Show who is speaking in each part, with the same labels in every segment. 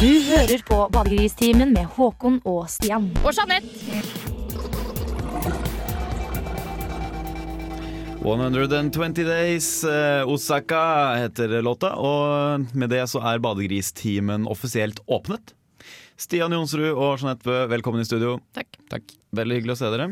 Speaker 1: Du hører på Badegristimen med Håkon og Stian.
Speaker 2: Og Jeanette.
Speaker 3: 120 Days, eh, Osaka heter låta. Og med det så er Badegristimen offisielt åpnet. Stian Jonsrud og Jeanette Bø, velkommen i studio.
Speaker 2: Takk.
Speaker 4: Takk.
Speaker 3: Veldig hyggelig å se dere.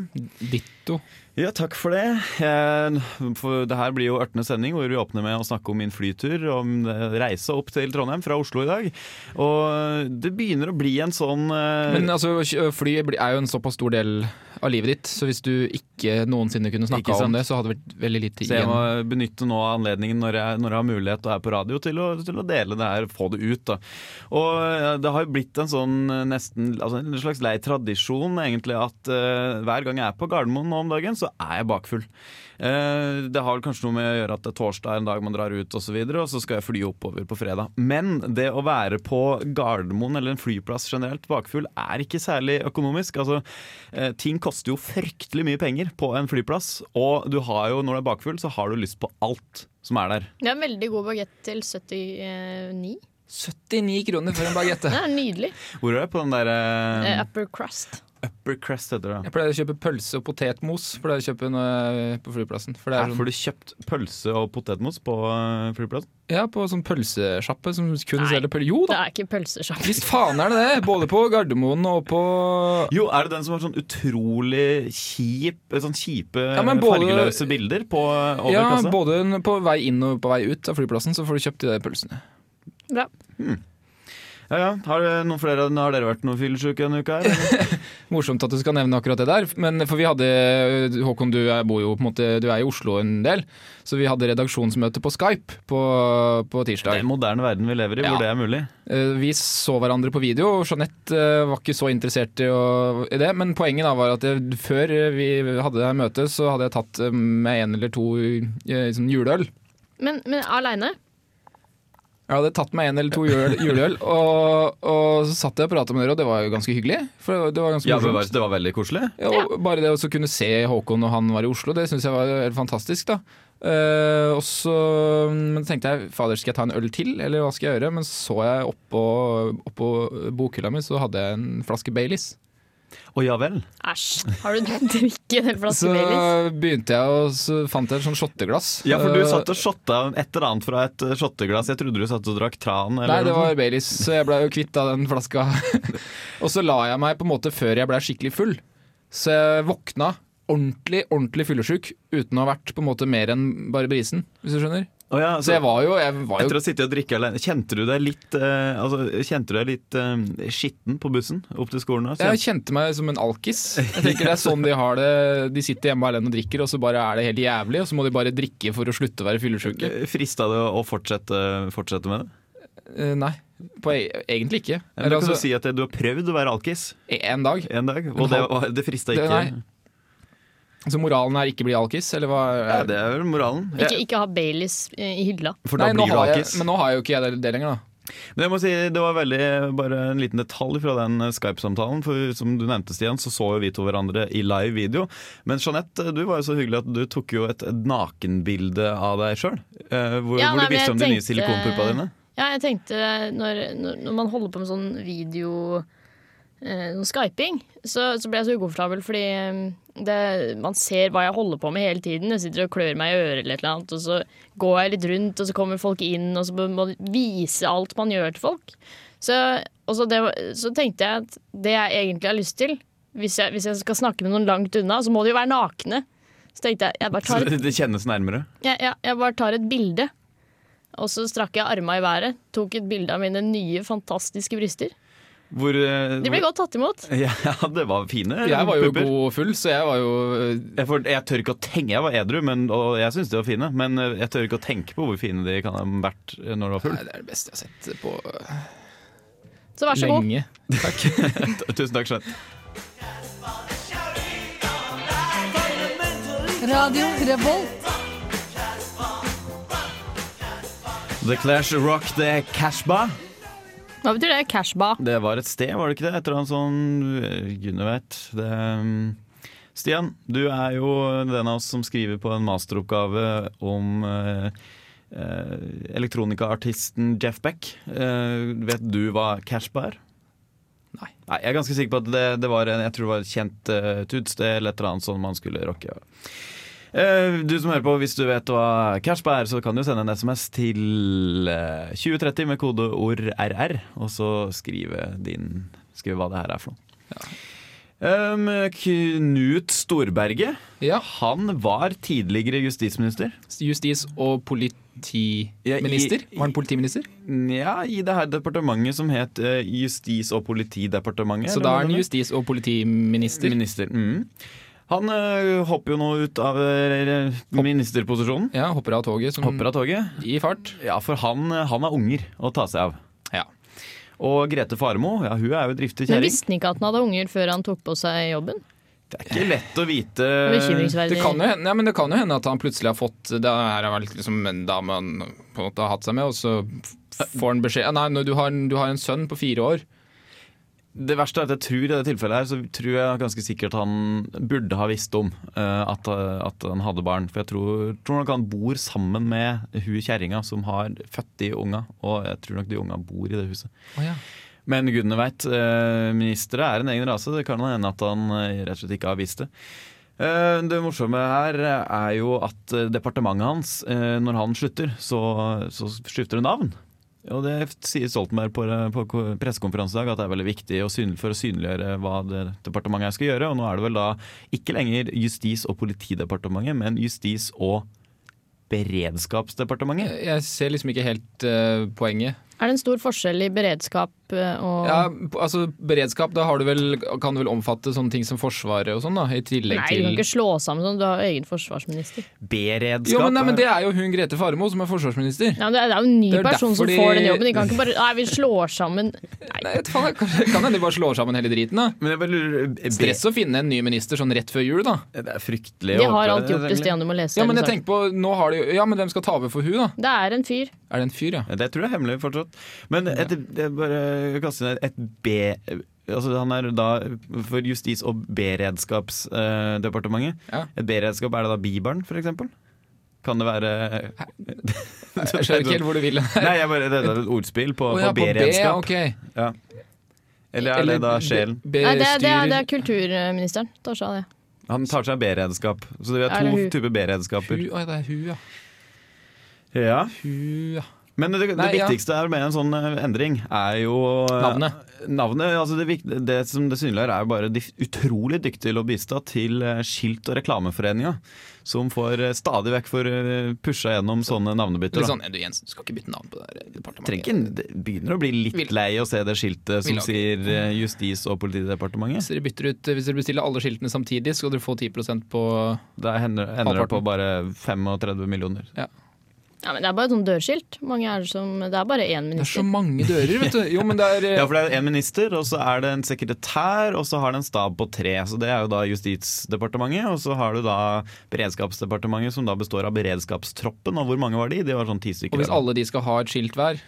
Speaker 4: Ditto.
Speaker 3: Ja, takk for det. Eh, For det her blir jo ørtenes sending, hvor vi åpner med å snakke om min flytur, om eh, reise opp til Trondheim fra Oslo i dag. Og det begynner å bli en sånn eh,
Speaker 4: Men altså, fly bli- er jo en såpass stor del av livet ditt, så hvis du ikke noensinne kunne
Speaker 3: Ikke
Speaker 4: snakka
Speaker 3: sant.
Speaker 4: om det, så hadde det vært veldig lite
Speaker 3: Så jeg
Speaker 4: igjen.
Speaker 3: må benytte nå anledningen når jeg, når jeg har mulighet og er på radio til å, til å dele det her, få det ut. Da. Og eh, det har jo blitt en sånn eh, nesten altså en slags lei tradisjon egentlig at eh, hver gang jeg er på Gardermoen nå om dagen, så er jeg bakfull. Eh, det har vel kanskje noe med å gjøre at det er torsdag en dag man drar ut og så videre, og så skal jeg fly oppover på fredag. Men det å være på Gardermoen eller en flyplass generelt bakfull er ikke særlig økonomisk. Altså, eh, ting koster jo fryktelig mye penger på en flyplass, og du har jo, når du er bakfull, så har du lyst på alt som er der.
Speaker 2: Det er en veldig god bagett til 79.
Speaker 4: 79 kroner for en bagette.
Speaker 2: Det er nydelig.
Speaker 3: Hvor er det på den der eh,
Speaker 2: Eh, upper crust.
Speaker 3: Upper Crest heter det?
Speaker 4: Jeg pleier å kjøpe pølse og potetmos pleier å kjøpe når jeg er på flyplassen. For det
Speaker 3: Her
Speaker 4: er
Speaker 3: får
Speaker 4: sånn,
Speaker 3: du kjøpt pølse og potetmos på eh, flyplassen.
Speaker 4: ja, på sånn pølsesjappe som kun
Speaker 2: Nei.
Speaker 4: selger pølse. Jo
Speaker 2: Det
Speaker 4: da!
Speaker 2: er ikke pølsesjapp.
Speaker 4: Visst faen er det det! Både på Gardermoen og på
Speaker 3: Jo, er det den som har sånn utrolig kjip Sånn kjipe,
Speaker 4: Ja, men både-
Speaker 3: fargeløse bilder på eh,
Speaker 4: ja,
Speaker 3: overkassa?
Speaker 4: både på vei inn og på vei ut av flyplassen, så får du kjøpt de der pølsene.
Speaker 2: Bra.
Speaker 3: Ja, ja. Har, det noen flere, har dere vært noe fyllesyke denne uka? Her?
Speaker 4: Morsomt at du skal nevne akkurat det der. Men for vi hadde Håkon, du er, bor jo på en måte Du er i Oslo en del, så vi hadde redaksjonsmøte på Skype på, på tirsdag.
Speaker 3: Den moderne verden vi lever i,
Speaker 4: Ja.
Speaker 3: hvor det er mulig.
Speaker 4: Eh, Vi så hverandre på video, og Jeanette eh, var ikke så interessert i, å, i det. Men poenget da var at jeg, før eh, vi hadde det her møtet, så hadde jeg tatt eh, med en eller to eh, sånn juleøl.
Speaker 2: Men, men aleine?
Speaker 4: Jeg hadde tatt meg en eller to jul, juleøl, og, og så satt jeg og prata med dere, og det var jo ganske hyggelig. For det var- det var ganske
Speaker 3: Ja, det var,
Speaker 4: morsomt.
Speaker 3: det var veldig koselig.
Speaker 4: Ja, og bare det å så kunne se Håkon og han var i Oslo, det syns jeg var helt fantastisk, da. Eh, og så men tenkte jeg fader, skal jeg ta en øl til, eller hva skal jeg gjøre? Men så jeg oppå, oppå bokhylla mi, så hadde jeg en flaske Baileys.
Speaker 3: Å ja vel.
Speaker 2: Æsj. Har du drukket en hel flaske
Speaker 4: Så
Speaker 2: Baileys?
Speaker 4: begynte jeg, og så fant jeg et sånn shotteglass.
Speaker 3: Ja, for du
Speaker 4: Eh,
Speaker 3: satt og shotta et eller annet fra et eh, shotteglass. Jeg trodde du satt og drakk tran. Eller sånn?
Speaker 4: Nei, det
Speaker 3: noe sånt.
Speaker 4: var Baileys, så jeg blei jo kvitt av den flaska. og så la jeg meg på en måte før jeg blei skikkelig full. Så jeg våkna ordentlig, ordentlig fyllesyk uten å ha vært på en måte mer enn bare brisen, hvis du skjønner.
Speaker 3: Å ja,
Speaker 4: Så Altså, jeg var jo, jeg var
Speaker 3: Etter
Speaker 4: jo
Speaker 3: å sitte og drikke alene, kjente du deg litt, eh, altså, kjente du deg litt eh, skitten på bussen opp til skolen? da?
Speaker 4: jeg kjente meg som en alkis. Jeg tenker Det er sånn de har det. De sitter hjemme alene og drikker, og så bare er det helt jævlig. Og så må de bare drikke for å slutte å være fyllesyke.
Speaker 3: Kjente- Frista det eh, å fortsette, fortsette med det?
Speaker 4: Eh, Nei, på, e- egentlig ikke.
Speaker 3: Men du
Speaker 4: Eller,
Speaker 3: kan jo
Speaker 4: altså,
Speaker 3: si at du har prøvd å være alkis
Speaker 4: en dag.
Speaker 3: en dag, og det, var- det frista
Speaker 4: Det-
Speaker 3: ikke.
Speaker 4: nei. Så moralen er ikke bli alkis, eller hva?
Speaker 3: Ja, det er vel moralen.
Speaker 2: Ikke, ikke ha Baileys eh, i hylla.
Speaker 3: For da
Speaker 4: Nei, nå
Speaker 3: blir du
Speaker 4: har jeg-
Speaker 3: alkis.
Speaker 4: Men nå har jeg jo ikke jeg det, det lenger, da.
Speaker 3: Men jeg må si, Det var veldig, bare en liten detalj fra den eh, Skype-samtalen. For Som du nevnte, Stian, så så jo vi to hverandre i live video. Men Jeanette, du var jo så hyggelig at du tok jo et nakenbilde av deg sjøl. Hvor,
Speaker 2: Ja,
Speaker 3: hvor
Speaker 2: nei,
Speaker 3: du
Speaker 2: men
Speaker 3: viste
Speaker 2: jeg
Speaker 3: om de nye
Speaker 2: tenkte-
Speaker 3: silikonpuppa dine.
Speaker 2: Ja, jeg tenkte når, når når man holder på med sånn video eh, Sånn skyping, så, så ble jeg så ukomfortabel fordi eh, det, man ser hva jeg holder på med hele tiden. Jeg sitter og klør meg i øret eller et eller annet, og så går jeg litt rundt, og så kommer folk inn, og så må de vise alt man gjør til folk. Så, og så, det, var- så tenkte jeg at det jeg egentlig har lyst til, hvis jeg, hvis jeg skal snakke med noen langt unna, så må de jo være nakne. Så tenkte jeg jeg bare
Speaker 3: Så
Speaker 2: tar et
Speaker 3: det, det kjennes nærmere.
Speaker 2: jeg, jeg, jeg bare tar et bilde. Og så strakk jeg arma i været, tok et bilde av mine nye, fantastiske bryster.
Speaker 3: Hvor, eh,
Speaker 2: De ble
Speaker 3: hvor-
Speaker 2: godt tatt imot.
Speaker 3: Ja, det var fine
Speaker 4: Jeg var jo
Speaker 3: pupper.
Speaker 4: god og full, så jeg var jo eh,
Speaker 3: Jeg, får, jeg tør ikke å tenke Jeg var edru, men, og jeg syns de var fine. Men eh, jeg tør ikke å tenke på hvor fine de kan ha vært eh, når du var full.
Speaker 4: Nei, det er det beste jeg har sett på
Speaker 2: Så vær så god.
Speaker 4: lenge.
Speaker 3: Tusen takk, Jeanette.
Speaker 5: Radio Revolt.
Speaker 3: The Clash Rock The Cashba.
Speaker 2: Hva betyr det? Cashba.
Speaker 3: Det var et sted, var det ikke det? Et eller annet sånn øh, Gudene vet. Det, um, Stian, du er jo den av oss som skriver på en masteroppgave om øh, eh, elektronikaartisten Jeff Beck. Eh, vet du hva Cashba er?
Speaker 4: Nei.
Speaker 3: Jeg er ganske sikker på at det, det var en, jeg tror det var et kjent uh, tutsted eller et eller annet sånn man skulle rocke. Eh, du som hører på, hvis du vet hva Cashba er, så kan du sende en SMS til eh, 2030 med kodeord RR, og så skrive, din, skrive hva det her er for noe. Um, Knut Storberget,
Speaker 4: Ja,
Speaker 3: han var tidligere justisminister.
Speaker 4: Justis- og politiminister?
Speaker 3: Ja, i-
Speaker 4: Var han politiminister?
Speaker 3: Ja, i det her departementet som het eh, Justis- og politidepartementet.
Speaker 4: Så
Speaker 3: eller
Speaker 4: da
Speaker 3: hva
Speaker 4: er han
Speaker 3: det
Speaker 4: justis- og politiminister.
Speaker 3: Minister. Mm. Han eh, hopper jo nå ut av eh, ministerposisjonen.
Speaker 4: Ja, hopper av toget som
Speaker 3: Hopper av toget.
Speaker 4: i fart.
Speaker 3: Ja, for han, eh, han har unger å ta seg av.
Speaker 4: Ja.
Speaker 3: Og Grete Farmo, ja, hun er jo driftig
Speaker 2: Men
Speaker 3: kjerring.
Speaker 2: visste han ikke at han hadde unger før han tok på seg jobben?
Speaker 3: Det er ikke lett å vite.
Speaker 4: Eh, Det
Speaker 2: Bekymringsverdig.
Speaker 4: kan, jo hende, ja, men det kan jo hende at han plutselig har fått Det her er vel liksom en dame han på en måte har hatt seg med, og så f- får han beskjed ja, Nei, nå, du, har, en- du har en sønn på fire år.
Speaker 3: Det verste er at jeg tror i dette tilfellet her, så tror jeg ganske sikkert han burde ha visst om eh, at, at han hadde barn. For jeg tror, tror nok han bor sammen med hun kjerringa som har født de unga. Og jeg tror nok de unga bor i det huset. Men gudene veit, eh, ministre er en egen rase. Det kan hende at han eh, rett og slett ikke har visst det. Eh, Det morsomme her er jo at eh, departementet hans, eh, når han slutter, så, så skifter det navn. Og det sier Stoltenberg på, eh, på ko- pressekonferanse i dag, at det er veldig viktig å synlig, for å synliggjøre hva det departementet her skal gjøre. Og nå er det vel da ikke lenger Justis- og politidepartementet, men Justis- og beredskapsdepartementet.
Speaker 4: Jeg ser liksom ikke helt eh, poenget.
Speaker 2: Er det en stor forskjell i beredskap eh, og
Speaker 4: Ja, p- altså Beredskap, da har du vel, kan du vel omfatte sånne ting som Forsvaret og sånn, da? I tillegg
Speaker 2: Nei, du
Speaker 4: til
Speaker 2: kan ikke slå sammen sånn. Du har egen forsvarsminister.
Speaker 3: Beredskap
Speaker 4: jo, men, nei, men
Speaker 3: er-
Speaker 4: Det er jo hun Grete Farmo som er forsvarsminister.
Speaker 2: Ja, men det er det er jo en ny
Speaker 4: Det er
Speaker 2: person som
Speaker 4: derfor de-
Speaker 2: får den jobben. De kan ikke bare Nei, vi slår sammen
Speaker 4: Nei, vet faen, Kan kan hende de bare slår sammen hele driten, da.
Speaker 3: men jeg bare lurer, eh, be-
Speaker 4: Stress å finne en ny minister sånn rett før jul, da.
Speaker 3: Det er fryktelig.
Speaker 2: De
Speaker 3: å
Speaker 2: har
Speaker 3: oppleve
Speaker 2: alt gjort det,
Speaker 3: egentlig.
Speaker 2: Stian. Du må lese
Speaker 4: Ja, men
Speaker 2: hele saken.
Speaker 4: jeg tenker på, nå har de, jo- ja, men hvem skal ta over for hun da?
Speaker 2: Det er en fyr.
Speaker 4: Er det en fyr, ja?
Speaker 3: Det tror jeg er hemmelig fortsatt. Men et, jeg bare kaster inn et B... Altså han er da for Justis- og beredskapsdepartementet.
Speaker 4: Ja.
Speaker 3: Et beredskap, er det da Bibelen, for eksempel? Kan det være
Speaker 4: Jeg skjønner ikke helt hvor du vil.
Speaker 3: Nei, jeg bare, det er et ordspill på,
Speaker 4: Å, ja,
Speaker 3: på beredskap.
Speaker 4: ok.
Speaker 3: Eller er det da sjelen?
Speaker 4: Be,
Speaker 2: Nei, det, er- det, er, det
Speaker 4: bestyrer-
Speaker 2: er kulturministeren. Tar seg av det.
Speaker 3: Han tar seg av beredskap. Så vi har
Speaker 2: Er det
Speaker 3: to
Speaker 2: hun?
Speaker 3: typer beredskaper.
Speaker 4: Hu- Å, ja, det er hu, ja.
Speaker 3: Ja.
Speaker 4: Hu, ja.
Speaker 3: Men det, det
Speaker 4: Nei, ja.
Speaker 3: viktigste her med en sånn eh, endring er jo eh,
Speaker 4: Navnet.
Speaker 3: Navnet, altså det, vikt- det som det synliggjør er jo bare de utrolig dyktige lobbyister til eh, skilt- og reklameforeninga, som får eh, stadig vekk får eh, pusha gjennom sånne navnebytter.
Speaker 4: Litt
Speaker 3: da.
Speaker 4: sånn, du Jensen, du skal ikke bytte navn på det her departementet.
Speaker 3: Trenger ikke, det begynner å bli
Speaker 4: Vil-
Speaker 3: litt lei å se det skiltet som
Speaker 4: Vil-
Speaker 3: sier eh, Justis- og politidepartementet.
Speaker 4: Hvis dere, bytter ut, hvis dere bestiller alle skiltene samtidig, skal dere få 10 på
Speaker 3: Da hender, ender det
Speaker 4: Halvparten.
Speaker 3: på bare 35 millioner.
Speaker 2: Ja, men det er bare et sånt dørskilt. Mange er det som Det er bare én
Speaker 4: Det er så
Speaker 2: minister.
Speaker 4: mange dører, vet du. Jo, men det er
Speaker 3: Ja, for det er en minister, og så er det en sekretær, og så har det en stab på tre. Så det er jo da Justisdepartementet, og så har du da Beredskapsdepartementet, som da består av beredskapstroppen, og hvor mange var de? De var sånn ti
Speaker 4: Og
Speaker 3: stykker.
Speaker 4: hvis alle de skal ha et skilt hver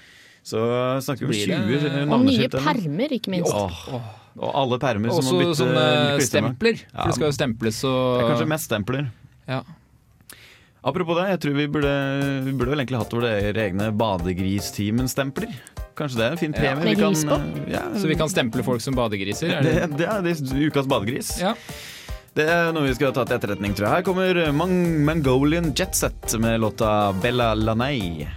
Speaker 3: Så snakker vi
Speaker 4: Så blir
Speaker 3: om
Speaker 4: det-
Speaker 2: Og
Speaker 3: 20
Speaker 2: nye
Speaker 3: navneskilt. eller noe.
Speaker 2: permer, ikke minst.
Speaker 3: Åh, Og alle permer som må
Speaker 4: Også
Speaker 3: bytte
Speaker 4: sånne
Speaker 3: klistremerke.
Speaker 4: stempler.
Speaker 3: Ja.
Speaker 4: For det skal jo stemples
Speaker 3: Det er
Speaker 4: og
Speaker 3: kanskje mest stempler.
Speaker 4: ja.
Speaker 3: Apropos det, jeg tror vi burde, vi burde vel egentlig hatt våre egne Badegristeamen-stempler. Kanskje det er en fin premie.
Speaker 2: Med
Speaker 3: vi kan-
Speaker 2: gris på?
Speaker 3: Ja,
Speaker 4: Så vi kan stemple folk som badegriser. Er det?
Speaker 3: det, det er det- ukas badegris.
Speaker 4: Ja.
Speaker 3: Det er noe vi skal ta til etterretning, tror jeg. Her kommer Mang Mongolian Jetset med låta Bella Lanei.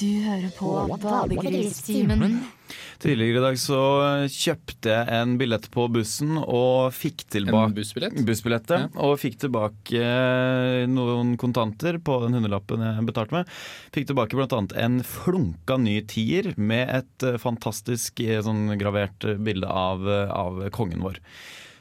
Speaker 5: Du hører på
Speaker 1: Badegristimen.
Speaker 3: Tidligere i dag så kjøpte jeg en billett på bussen og fikk
Speaker 4: En
Speaker 3: tilbake
Speaker 4: bussbillett.
Speaker 3: bussbillettet. Og fikk tilbake eh, noen kontanter på den hundrelappen jeg betalte med. Fikk tilbake bl.a. en flunka ny tier med et eh, fantastisk eh, sånn gravert eh, bilde av, eh, av kongen vår.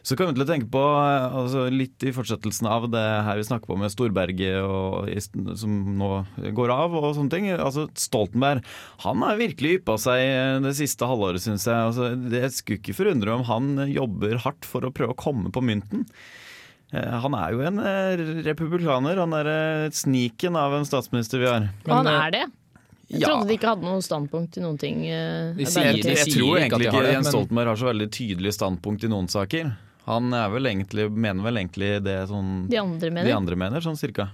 Speaker 3: Så kom jeg til å tenke på, eh, altså litt i fortsettelsen av det her vi snakker på med Storberget, og, i st- som nå går av og sånne ting. Altså Stoltenberg han har virkelig yppa seg eh, det siste halvåret, syns jeg. Altså, det skulle ikke forundre om han eh, jobber hardt for å prøve å komme på mynten. Eh, Han er jo en eh, republikaner. Han er eh, sniken av en statsminister vi har.
Speaker 2: Og han er det. Jeg trodde de ikke hadde noe standpunkt til noen ting. eh,
Speaker 4: De sier-
Speaker 3: Jeg,
Speaker 2: Arbeiderpartiet.
Speaker 4: de
Speaker 3: jeg tror
Speaker 4: ikke at de
Speaker 3: egentlig
Speaker 4: har
Speaker 3: ikke
Speaker 4: det,
Speaker 3: Jens
Speaker 4: men-
Speaker 3: Stoltenberg har så veldig tydelig standpunkt i noen saker. Han er vel egentlig, mener vel egentlig det sånn
Speaker 2: De andre mener.
Speaker 3: de andre mener, sånn cirka.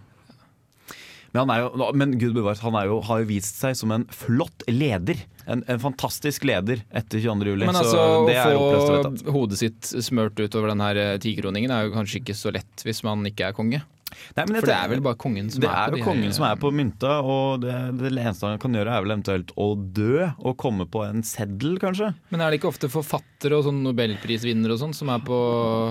Speaker 3: Men, han er jo, men gud bevares, han er jo, har jo vist seg som en flott leder. En, en fantastisk leder etter 22. juli.
Speaker 4: Men
Speaker 3: så
Speaker 4: altså,
Speaker 3: det er
Speaker 4: å
Speaker 3: oppløst og vedtatt.
Speaker 4: få hodet sitt smurt utover den her eh, tikroningen er jo kanskje ikke så lett hvis man ikke er konge.
Speaker 3: Nei, men jeg
Speaker 4: For det er
Speaker 3: tenker-
Speaker 4: vel bare kongen som
Speaker 3: det
Speaker 4: er
Speaker 3: er jo
Speaker 4: på de her- eh,
Speaker 3: kongen som er på mynta, og det, det eneste han kan gjøre er vel eventuelt å dø og komme på en seddel, kanskje.
Speaker 4: Men er det ikke ofte forfattere og sånn nobelprisvinnere og sånn som er på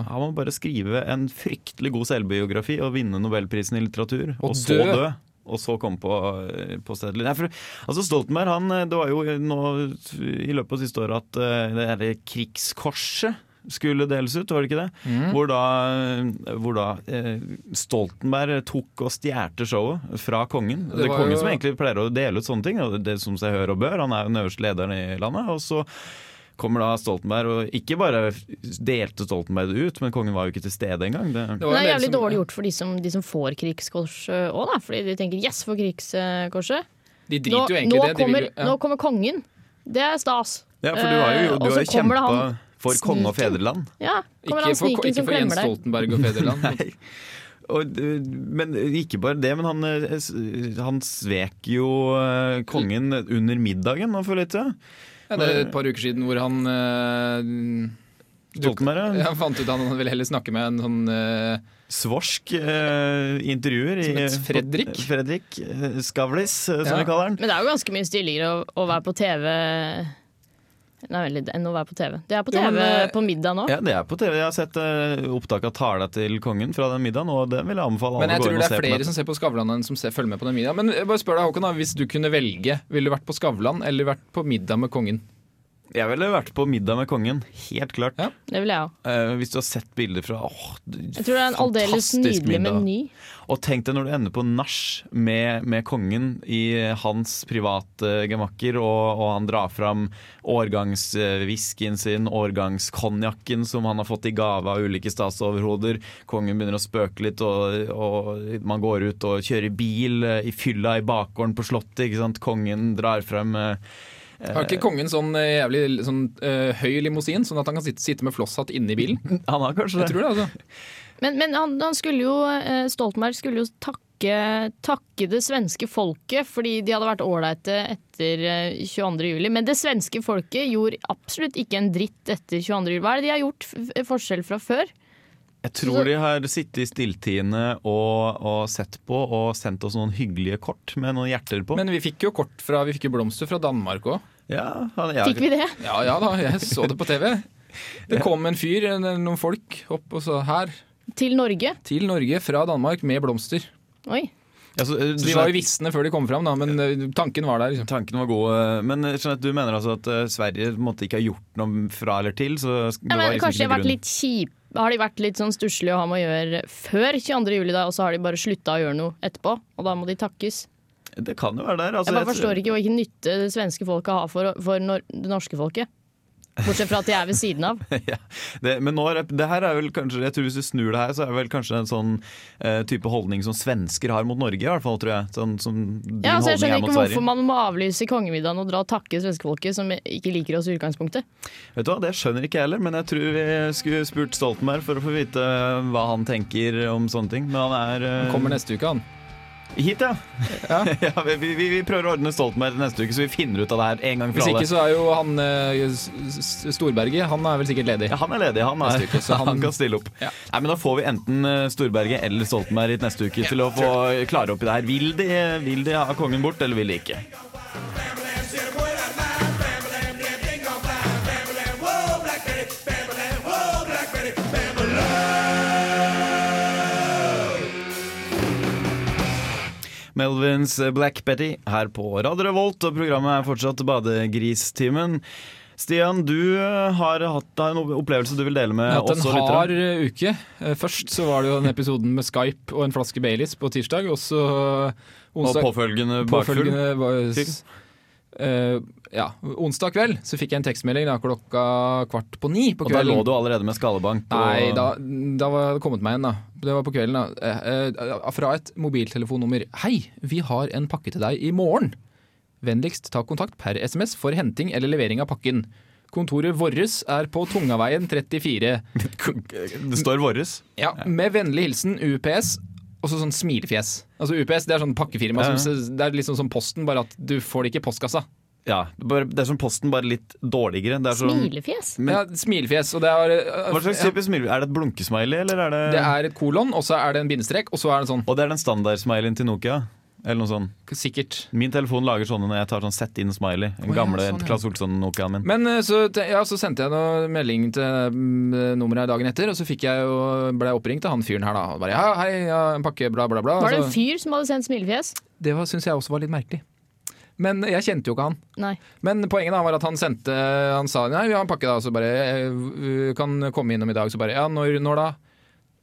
Speaker 3: Han må bare skrive en fryktelig god selvbiografi og vinne Nobelprisen i litteratur. Og,
Speaker 4: Og
Speaker 3: så
Speaker 4: dø.
Speaker 3: dø. Og så komme på, eh, på stedet. Nei, for, altså Stoltenberg, han, det var jo nå i løpet av siste året at eh, det derre krigskorset skulle deles ut, var det ikke det?
Speaker 4: Mm.
Speaker 3: Hvor da, hvor da eh, Stoltenberg tok og stjerte showet fra kongen. Det,
Speaker 4: Det
Speaker 3: er
Speaker 4: var
Speaker 3: kongen
Speaker 4: jo-
Speaker 3: som egentlig pleier å dele ut sånne ting, og det som seg hør og bør. Han er jo den øverste lederen i landet. og så kommer da Stoltenberg, og ikke bare delte Stoltenberg det ut, men kongen var jo ikke til stede engang. Det,
Speaker 2: Men
Speaker 4: var
Speaker 2: det er
Speaker 4: en del
Speaker 2: jævlig
Speaker 4: som-
Speaker 2: dårlig gjort for de som, de som får krigskors òg, da. Fordi de tenker 'yes, for krigskorset'.
Speaker 4: De
Speaker 2: Nå,
Speaker 4: driter jo egentlig
Speaker 2: nå,
Speaker 4: i det. De vil
Speaker 2: kommer,
Speaker 4: jo, ja.
Speaker 2: nå kommer kongen. Det er stas.
Speaker 3: ja, for du har jo,
Speaker 2: Eh,
Speaker 3: du
Speaker 2: og
Speaker 3: har
Speaker 2: så kommer
Speaker 3: jo
Speaker 2: det
Speaker 3: kjempa
Speaker 2: han
Speaker 3: for konge og
Speaker 2: sniken.
Speaker 3: federland.
Speaker 2: Ja, kommer
Speaker 4: ikke
Speaker 2: han
Speaker 4: for,
Speaker 2: sniken
Speaker 4: ikke
Speaker 2: som
Speaker 4: for Jens
Speaker 2: klemmer deg.
Speaker 4: Stoltenberg og fedreland.
Speaker 3: Og, eh, men ikke bare det, men han, eh, s- han svek jo eh, kongen under middagen nå for litt siden.
Speaker 4: Ja, det er et par uker siden hvor han eh,
Speaker 3: Stoltenberg, ja.
Speaker 4: ja, fant ut han ville heller snakke med en sånn eh,
Speaker 3: Svorsk eh, intervjuer i
Speaker 4: Som het Fredrik.
Speaker 3: Fredrik eh, Skavlis, eh, som
Speaker 4: Ja.
Speaker 3: vi kaller han.
Speaker 2: Men det er jo ganske mye stiligere å, å være på TV Nei, vent litt, enn å være på TV. Det er på
Speaker 4: Jo,
Speaker 2: TV
Speaker 4: men, eh,
Speaker 2: på middag nå.
Speaker 3: Ja, det er på TV. Jeg har sett eh, opptak av tala til kongen fra den middagen, og den vil jeg anbefale alle
Speaker 4: Men jeg
Speaker 3: å gå
Speaker 4: tror
Speaker 3: inn og
Speaker 4: det
Speaker 3: se
Speaker 4: er
Speaker 3: på.
Speaker 4: flere
Speaker 3: nettet.
Speaker 4: som ser på Skavlan enn som ser, følger med på den middagen. Men jeg bare spør deg, Håkon, da, hvis du kunne velge, ville du vært på Skavlan eller vært på middag med kongen?
Speaker 3: Jeg ville vært på middag med kongen, helt klart.
Speaker 4: Ja.
Speaker 2: Det vil jeg òg.
Speaker 3: Eh, hvis du har sett bilder fra åh, d-
Speaker 2: Jeg tror det er en aldeles
Speaker 3: fantastisk
Speaker 2: nydelig
Speaker 3: middag.
Speaker 2: meny.
Speaker 3: Og tenk deg når du ender på nach med, med kongen i hans private gemakker, og, og han drar fram årgangswhiskyen sin, årgangskonjakken som han har fått i gave av ulike statsoverhoder. Kongen begynner å spøke litt, og, og man går ut og kjører bil eh, i fylla i bakgården på Slottet. Ikke sant? Kongen drar frem eh,
Speaker 4: Har ikke kongen sånn eh, jævlig sånn, eh, høy limousin, sånn at han kan sitte, sitte med flosshatt inne i bilen?
Speaker 3: Han har kanskje det.
Speaker 4: Jeg tror det, altså.
Speaker 2: Men, men han, han skulle jo, eh, Stoltenberg skulle jo takke, takke det svenske folket, fordi de hadde vært ålreite etter eh, 22. juli. Men det svenske folket gjorde absolutt ikke en dritt etter 22. juli. Hva er det de har gjort f- forskjell fra før?
Speaker 3: Jeg tror de har sittet i stilltiende og, og sett på og sendt oss noen hyggelige kort med noen hjerter på.
Speaker 4: Men vi fikk jo kort fra, vi fikk jo blomster fra Danmark òg.
Speaker 3: ja, han, ja,
Speaker 2: Fikk vi det?
Speaker 4: Ja ja da, jeg så det på TV. Det kom en fyr, en- noen folk, opp og sa her
Speaker 2: Til Norge?
Speaker 4: til Norge fra Danmark med blomster.
Speaker 2: Oi.
Speaker 3: altså, eh,
Speaker 4: Så de var jo visne før de kom fram, da, men eh, tanken var der. liksom.
Speaker 3: Tanken var god, eh, men eh, Jeanette, du mener altså at eh, Sverige på en måte ikke har gjort noe fra eller til? Så det
Speaker 2: Ja,
Speaker 3: var
Speaker 2: men
Speaker 3: liksom
Speaker 2: kanskje de
Speaker 3: ikke
Speaker 2: har vært
Speaker 3: grunn.
Speaker 2: litt kjipe? Har de vært litt sånn stusslige å ha med å gjøre før 22. juli, da, og så har de bare slutta å gjøre noe etterpå? Og da må de takkes?
Speaker 3: Det kan jo være der. Altså,
Speaker 2: Jeg bare forstår ikke hvilken nytte det svenske folket har for, for nor det norske folket. Bortsett fra at de er ved siden av.
Speaker 3: ja. det, men nå, er det- det her er vel kanskje, jeg tror hvis du snur det her, så er det vel kanskje en sånn eh, type holdning som svensker har mot Norge, i hvert fall, tror jeg. Sånn som din
Speaker 2: Ja, altså, jeg
Speaker 3: holdning
Speaker 2: skjønner
Speaker 3: er mot
Speaker 2: ikke hvorfor
Speaker 3: Sverige.
Speaker 2: man må avlyse kongemiddagen og dra og takke svenskefolket, som ikke liker oss i utgangspunktet.
Speaker 3: Vet du hva, Det skjønner ikke jeg heller, men jeg tror vi skulle spurt Stoltenberg for å få vite eh, hva han tenker om sånne ting. Men han er eh,
Speaker 4: Han kommer neste uke, han.
Speaker 3: hit, ja.
Speaker 4: Ja.
Speaker 3: ja vi, vi, vi prøver å ordne Stoltenberg til neste uke, så vi finner ut av det her en gang
Speaker 4: Hvis
Speaker 3: for
Speaker 4: ikke
Speaker 3: alle.
Speaker 4: så er jo han eh, S- S- Storberget, han er vel sikkert ledig.
Speaker 3: Ja, han er ledig, han, er,
Speaker 4: Neste uke, så
Speaker 3: han...
Speaker 4: han-
Speaker 3: kan stille opp.
Speaker 4: Ja.
Speaker 3: Nei, men Da får vi enten eh, Storberget eller Stoltenberg hit neste uke til å få klare opp i det her. Vil de, vil de ha kongen bort, eller vil de ikke? Melvins Black Betty her på Radio Revolt, og programmet er fortsatt Badegristimen. Stian, du eh, har hatt deg en opplevelse du vil dele med
Speaker 4: Jeg har hatt
Speaker 3: også
Speaker 4: en
Speaker 3: lyttere.
Speaker 4: hard eh, uke. Eh, Først så var det jo den episoden med Skype og en flaske Baileys på tirsdag, og så eh,
Speaker 3: Og
Speaker 4: onsdag
Speaker 3: påfølgende bakfull.
Speaker 4: påfølgende var- s- eh, ja, onsdag kveld så fikk jeg en tekstmelding da klokka kvart på ni på
Speaker 3: Og da
Speaker 4: kvelden.
Speaker 3: lå du allerede med skallebank. og-
Speaker 4: Nei, da, da var det kommet meg en, da. Det var på kvelden, da. Eh, eh, fra et mobiltelefonnummer. Hei, vi har en pakke til deg i morgen. Vennligst ta kontakt per SMS for henting eller levering av pakken. Kontoret vårres er på Tungaveien 34.
Speaker 3: eh, Det står våres.
Speaker 4: Ja, Med vennlig hilsen UPS. Og så sånn smilefjes. Altså UPS det er sånn pakkefirma.
Speaker 3: Ja, ja.
Speaker 4: Som, det er liksom som Posten, bare at du får det ikke i postkassa.
Speaker 3: Ja, det er bare- det er som Posten, bare litt dårligere. Det er som,
Speaker 2: Smilefjes?
Speaker 3: Men-
Speaker 4: ja, smilefjes. Og det er, øh,
Speaker 3: hva slags type smil? Er det et blunkesmiley, eller er det,
Speaker 4: det er et kolon, og så er det en bindestrek, og så er det sånn
Speaker 3: Og det er den standardsmileyen til Nokia? Eller noe sånn.
Speaker 4: sikkert.
Speaker 3: Min telefon lager sånne når jeg tar sånn sett inn smiley. Den
Speaker 4: Å, ja,
Speaker 3: gamle
Speaker 4: sånn, ja.
Speaker 3: Claes Olsson-Nokiaen min.
Speaker 4: Men øh, så, te- ja, så sendte jeg noe melding til mm, nummeret her dagen etter, og så fikk jeg jo, ble jeg oppringt av han fyren her, da. Og bare, ja, hei, ja, en pakke, bla, bla, bla.
Speaker 2: Var det
Speaker 4: Så-
Speaker 3: altså-
Speaker 2: en fyr som hadde sendt smilefjes?
Speaker 4: det var- syns jeg også var litt merkelig. Men jeg kjente jo ikke han.
Speaker 2: Nei.
Speaker 4: Men poenget da var at han sendte Han sa nei, vi har en pakke da, så bare «Eh, Kan komme innom i dag, så bare Ja, når, når da?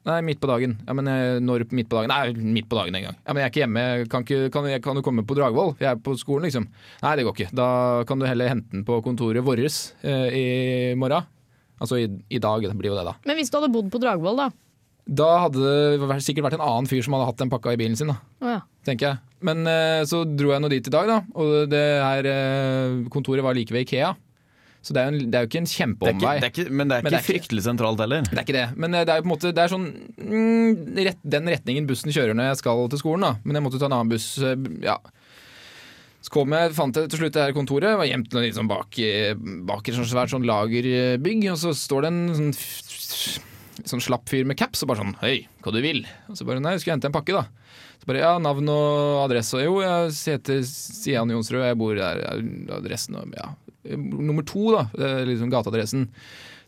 Speaker 4: Nei, midt på dagen. Ja, men eh, når midt på dagen? Nei, midt på dagen en gang. Ja, men jeg er ikke hjemme. Kan, ikke, kan, jeg- kan du komme på Dragvoll? Jeg er på skolen, liksom. Nei, det går ikke. Da kan du heller hente den på kontoret vårt eh, i morgen. Altså i, i dag blir jo det, da.
Speaker 2: Men hvis du hadde bodd på Dragvoll, da?
Speaker 4: Da hadde det vært- sikkert vært en annen fyr som hadde hatt den pakka i bilen sin, da
Speaker 2: Å ja.
Speaker 4: tenker jeg. Men eh, så dro jeg nå dit i dag, da. Og det her eh, kontoret var like ved Ikea. Så det er jo, en, det er jo ikke
Speaker 3: Det
Speaker 4: en
Speaker 3: er ikke,
Speaker 4: kjempeomvei.
Speaker 3: det er ikke, men det er ikke,
Speaker 4: Men det er ikke-
Speaker 3: fryktelig sentralt heller.
Speaker 4: Det er ikke det, men eh, det er jo på en måte Det er sånn mm, rett, den retningen bussen kjører når jeg skal til skolen, da. Men jeg måtte ta en annen buss. eh, Ja. Så kom jeg, fant jeg til slutt det her kontoret. Var gjemt noe litt sånn bak, eh, bak et sånt svært sånn lagerbygg. Og så står det en sånn, f- litt sånn slapp fyr med caps og bare sånn Høy, hva du vil? Og så bare Nei, jeg skulle hente en pakke, da. Så bare Ja, navn og adresse. Og jo, jeg heter Sian Jonsrud, og jeg bor der. Ja, Adressen og Ja. Nummer to, da. Det er Liksom gateadressen.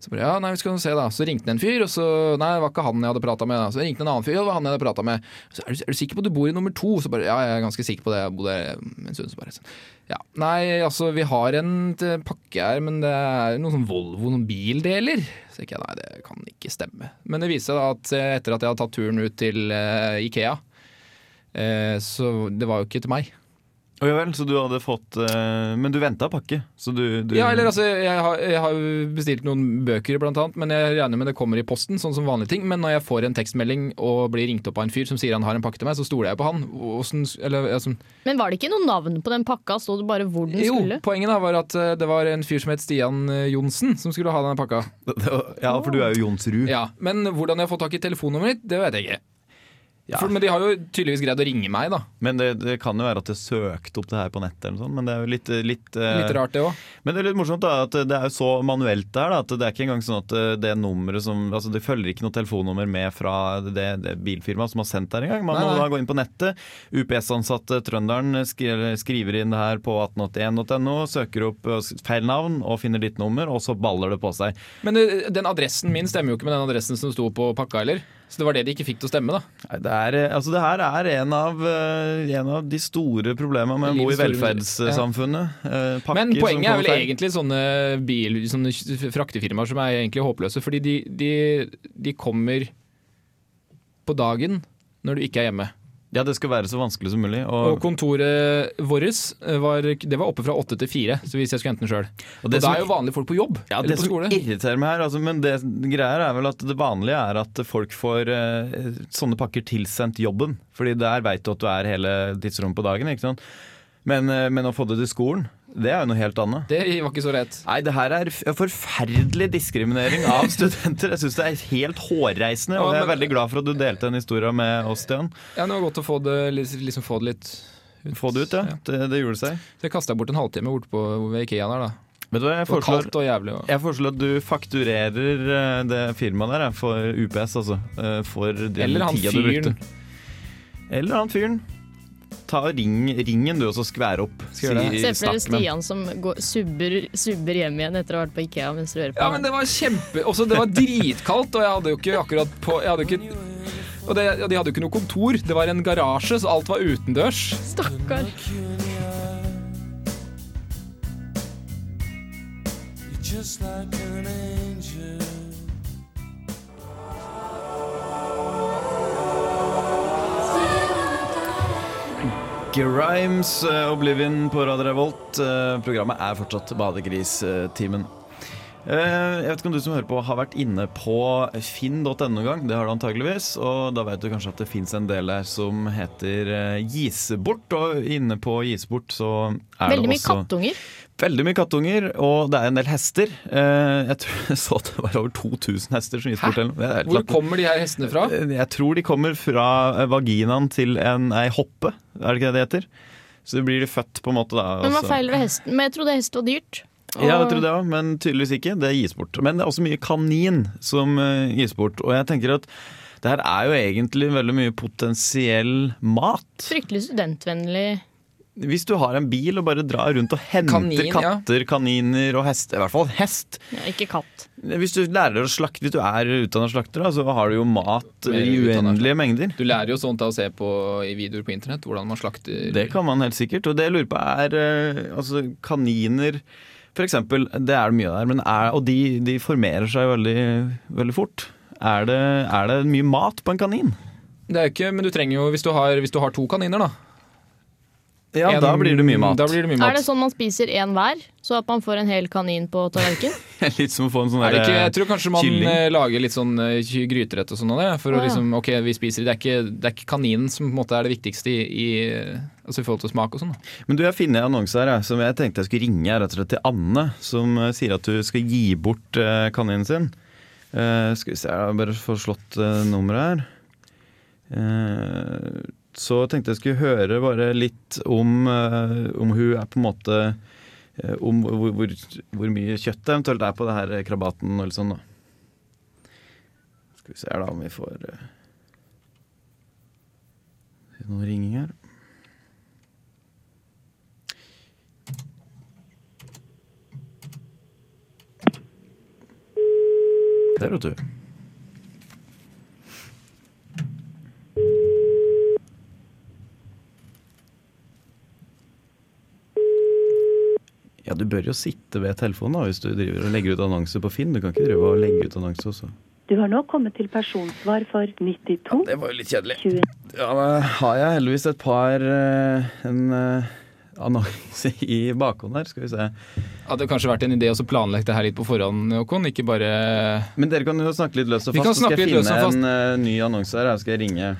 Speaker 4: Så bare, ja, nei, vi skal jo se da Så ringte det en fyr, og så Nei, det var ikke han jeg hadde prata med. Da. Så ringte en annen fyr, og det var han jeg hadde prata med. Så er du, er du sikker på at du bor i nummer to? Så bare, ja, jeg er ganske sikker på det. Jeg bodde her en stund, så bare sånn. Ja, Nei, altså, vi har en t- pakke her, men det er noen sånn Volvo, noen bildeler. Så tenker jeg, nei, det kan ikke stemme. Men det viste seg da at eh, etter at jeg hadde tatt turen ut til eh, Ikea, eh, så det var jo ikke til meg.
Speaker 3: Å ja vel, så du hadde fått eh, Men du venta pakke, så du, du
Speaker 4: Ja, eller altså, jeg har, jeg har bestilt noen bøker blant annet, men jeg regner med det kommer i posten, sånn som vanlige ting. Men når jeg får en tekstmelding og blir ringt opp av en fyr som sier han har en pakke til meg, så stoler jeg på han. Hvordan, eller, altså,
Speaker 2: Men var det ikke noe navn på den pakka? Sto det bare hvor den
Speaker 4: jo,
Speaker 2: skulle?
Speaker 4: poenget da var at eh, det var en fyr som het Stian eh, Johnsen som skulle ha denne pakka.
Speaker 3: Ja, for du er jo Jonsrud.
Speaker 4: Ja, Men hvordan jeg har fått tak i telefonnummeret mitt, det vet jeg ikke.
Speaker 3: Ja.
Speaker 4: For, men de har jo tydeligvis greid å ringe meg, da.
Speaker 3: Men det, det kan jo være at jeg søkte opp det her på nettet, eller noe sånt, men det er jo litt, litt, eh,
Speaker 4: Litt rart det òg.
Speaker 3: Men det er litt morsomt da, at det er jo så manuelt der, da, at det er ikke engang sånn at eh, det nummeret som altså Det følger ikke noe telefonnummer med fra det, det bilfirmaet som har sendt der engang. Man
Speaker 4: Nei,
Speaker 3: må
Speaker 4: nei.
Speaker 3: da gå inn på nettet. UPS-ansatte Trønderen skri- skriver inn det her på 1881.no, søker opp eh, feil navn og finner ditt nummer, og så baller det på seg.
Speaker 4: Men eh, den adressen min stemmer jo ikke med den adressen som sto på pakka heller. Så det var det de ikke fikk til å stemme, da.
Speaker 3: Nei, Det, er, eh, altså det her er en av, eh, en av de store problemene med å bo i
Speaker 4: Livets store-
Speaker 3: velferdssamfunnet. Eh, pakker
Speaker 4: Men
Speaker 3: som
Speaker 4: poenget er
Speaker 3: kommer
Speaker 4: vel
Speaker 3: feil.
Speaker 4: egentlig sånne, bil, sånne fraktefirmaer som er egentlig håpløse. Fordi de, de, de kommer på dagen når du ikke er hjemme.
Speaker 3: Ja, det skal være så vanskelig som mulig.
Speaker 4: Og kontoret vårt var, det var oppe fra åtte til fire, så hvis jeg skulle hente den sjøl. Og,
Speaker 3: det
Speaker 4: da
Speaker 3: som-
Speaker 4: er jo vanlige folk på jobb
Speaker 3: Ja,
Speaker 4: eller
Speaker 3: det
Speaker 4: på
Speaker 3: som
Speaker 4: skole.
Speaker 3: irriterer meg her, altså, men det greier er vel at det vanlige er at folk får eh, sånne pakker tilsendt jobben. Fordi der veit du at du er hele tidsrommet på dagen. ikke sant? Men, eh, men å få det til skolen, det er jo noe helt annet.
Speaker 4: Det var ikke så rett.
Speaker 3: Nei, det her er f- forferdelig diskriminering av studenter. Jeg syns det er helt hårreisende, og
Speaker 4: Ja,
Speaker 3: jeg er
Speaker 4: men-
Speaker 3: veldig glad for at du delte den historien med oss, Stian.
Speaker 4: Ja, det var godt å få det, liksom få det litt
Speaker 3: Få det ut, ja. Det, det gjorde seg.
Speaker 4: Så jeg kasta bort en halvtime bort på ved Ikea der, da.
Speaker 3: Vet du hva, jeg
Speaker 4: Det var
Speaker 3: foreslår
Speaker 4: kaldt og jævlig. Og...
Speaker 3: jeg foreslår at du fakturerer eh, det firmaet der, eh, for UPS, altså. eh, For den
Speaker 4: Eller han
Speaker 3: tida du brukte.
Speaker 4: fyren.
Speaker 3: Eller han fyren. Ta og ring, ring en du, og så skvær opp.
Speaker 4: Skal gjøre det.
Speaker 2: Se for dere
Speaker 3: snakk med ham.
Speaker 2: Stian som går, subber, subber hjem igjen etter å ha vært på Ikea mens du hører på.
Speaker 4: Ja, men det var kjempe Også det var dritkaldt, og jeg hadde jo ikke akkurat på Jeg hadde jo ikke og det, og De hadde jo ikke noe kontor, det var en garasje, så alt var utendørs.
Speaker 2: Stakkar.
Speaker 6: just like an angel.
Speaker 3: Grimes, eh, Oblivion på Radio Revolt. Eh, Programmet er fortsatt Badegristimen. Eh, Jeg vet ikke om du som hører på har vært inne på finn.no noen gang. Det har du antageligvis. Og da vet du kanskje at det fins en del der som heter eh, Gisebort. Og inne på Gisebort så er
Speaker 2: Veldig
Speaker 3: det
Speaker 2: mye
Speaker 3: også
Speaker 2: kattunger.
Speaker 3: Veldig mye kattunger, og det er en del hester. Eh, Jeg tror jeg så at det var over 2000 hester som gikk bort. eller noe. Det er helt
Speaker 4: Hvor
Speaker 3: latterlig.
Speaker 4: kommer de her hestene fra?
Speaker 3: Eh, Jeg tror de kommer fra eh, vaginaen til en, ei hoppe, er det ikke det det heter? Så blir de født på en måte da.
Speaker 2: Men hva
Speaker 3: og så-
Speaker 2: feiler ved hesten? Men jeg trodde hest var dyrt.
Speaker 3: altså- ja, jeg tror det også, men tydeligvis ikke. Det gis bort. Men det er også mye kanin som eh, gis bort. Og jeg tenker at det her er jo egentlig veldig mye potensiell mat.
Speaker 2: Fryktelig studentvennlig.
Speaker 3: Hvis du har en bil og bare drar rundt og henter
Speaker 4: Kanin, ja.
Speaker 3: katter, kaniner og hest, i hvert fall hest
Speaker 2: Ja, ikke katt.
Speaker 3: Hvis du lærer å slakte, hvis du er utdanna slakter, da, så har du jo mat
Speaker 4: Mer
Speaker 3: i
Speaker 4: utdannet
Speaker 3: uendelige mengder.
Speaker 4: Du lærer jo sånt av å se på i videoer på internett, hvordan man slakter
Speaker 3: Det kan man helt sikkert. Og det jeg lurer på er eh, altså kaniner for eksempel, det er det mye der, men er, og de, de formerer seg veldig, veldig fort. Er det, er det mye mat på en kanin?
Speaker 4: Det er jo ikke, men du trenger jo, hvis du har, hvis du har to kaniner, da.
Speaker 3: Ja,
Speaker 4: En-
Speaker 3: da blir det mye mat.
Speaker 4: Da blir det mye mat.
Speaker 2: Er det sånn man spiser én hver, så at man får en hel kanin på tallerken?
Speaker 3: Litt som å få en sånn
Speaker 4: Er det ikke, jeg
Speaker 3: derre
Speaker 4: tror kanskje man
Speaker 3: kylling.
Speaker 4: eh, lager litt sånn eh, ky- gryterett og sånn av det. For
Speaker 2: Å,
Speaker 4: å
Speaker 2: ja.
Speaker 4: liksom, ok, vi spiser det. er ikke, det er ikke kaninen som på en måte er det viktigste i, i, eh, altså i forhold til smak og sånn. da.
Speaker 3: Men du, jeg finner en annonse her jeg, som jeg tenkte jeg skulle ringe rett og slett til Anne, som eh, sier at du skal gi bort eh, kaninen sin. Eh, skal vi se, jeg har bare får slått eh, nummeret her. Eh, så tenkte jeg skulle høre bare litt om, eh, om hun er på en måte eh, Om hvor, hvor, hvor mye kjøtt det eventuelt er på det her krabaten og litt sånn, da. Skal vi se her, da, om vi får eh, noen ringing her. Der, vet du. Ja, du bør jo sitte ved telefonen da, hvis du driver og legger ut annonser på Finn. Du kan ikke drive og legge ut annonser også.
Speaker 7: Du har nå kommet til personsvar for 92.
Speaker 3: Det var jo litt kjedelig.
Speaker 7: 20.
Speaker 3: Ja, men har jeg heldigvis et par eh, en eh, annonse i bakhånd her, skal vi se.
Speaker 4: Hadde det kanskje vært en idé å så planlegge det her litt på forhånd, Håkon. Ikke bare
Speaker 3: Men dere kan jo snakke litt løst og
Speaker 4: Vi
Speaker 3: fast,
Speaker 4: kan
Speaker 3: så skal
Speaker 4: snakke
Speaker 3: jeg
Speaker 4: litt løst
Speaker 3: finne
Speaker 4: og fast.
Speaker 3: en eh, ny annonse her. Jeg skal ringe.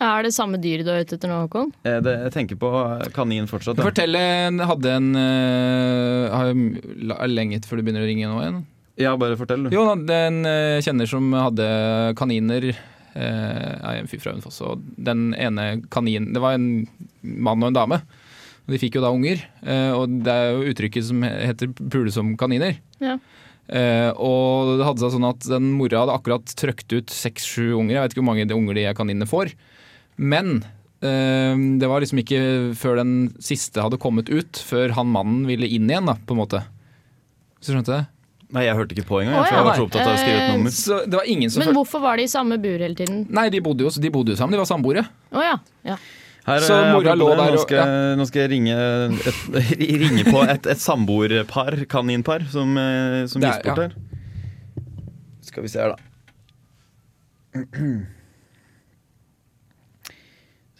Speaker 2: Er det samme dyret du er ute etter nå, Håkon?
Speaker 3: Eh, det, jeg tenker på kanin fortsatt. da.
Speaker 4: Fortell en- Hadde en eh, har jeg la- lenget før du begynner å ringe nå igjen?
Speaker 3: Ja, bare fortell,
Speaker 2: Mm.
Speaker 3: du.
Speaker 4: Jo, da, det er en eh, kjenner som hadde kaniner eh, er en fyr fra Hønefoss. Og den ene kaninen Det var en mann og en dame. Og de fikk jo da unger. eh, og det er jo uttrykket som he- heter 'pule som kaniner'.
Speaker 2: Ja.
Speaker 4: Eh, og det hadde seg sånn at den mora hadde akkurat trøkt ut seks-sju unger. Jeg vet ikke hvor mange de unger de kaninene får. Men eh, det var liksom ikke før den siste hadde kommet ut, før han mannen ville inn igjen, da, på en måte. Så skjønte jeg det?
Speaker 3: Nei, jeg hørte ikke på engang.
Speaker 2: Å,
Speaker 3: for
Speaker 2: ja,
Speaker 3: jeg var
Speaker 2: nei.
Speaker 3: så opptatt av å skrive et
Speaker 2: Eh,
Speaker 3: nummer.
Speaker 4: Så det var ingen som
Speaker 2: Men hvorfor var de i samme bur hele tiden?
Speaker 4: Nei, de bodde jo, de bodde jo sammen, de var samboere.
Speaker 2: Å ja. ja.
Speaker 3: Her,
Speaker 4: Så
Speaker 3: eh,
Speaker 4: mora
Speaker 3: apropos
Speaker 4: lå
Speaker 3: det,
Speaker 4: der
Speaker 3: nå
Speaker 4: og-
Speaker 3: skal, jeg- nå skal jeg ringe, et, ringe på et, et samboerpar, kaninpar, som, eh, som
Speaker 4: Det er-
Speaker 3: viser bort
Speaker 4: ja.
Speaker 3: her. Skal vi se her, da.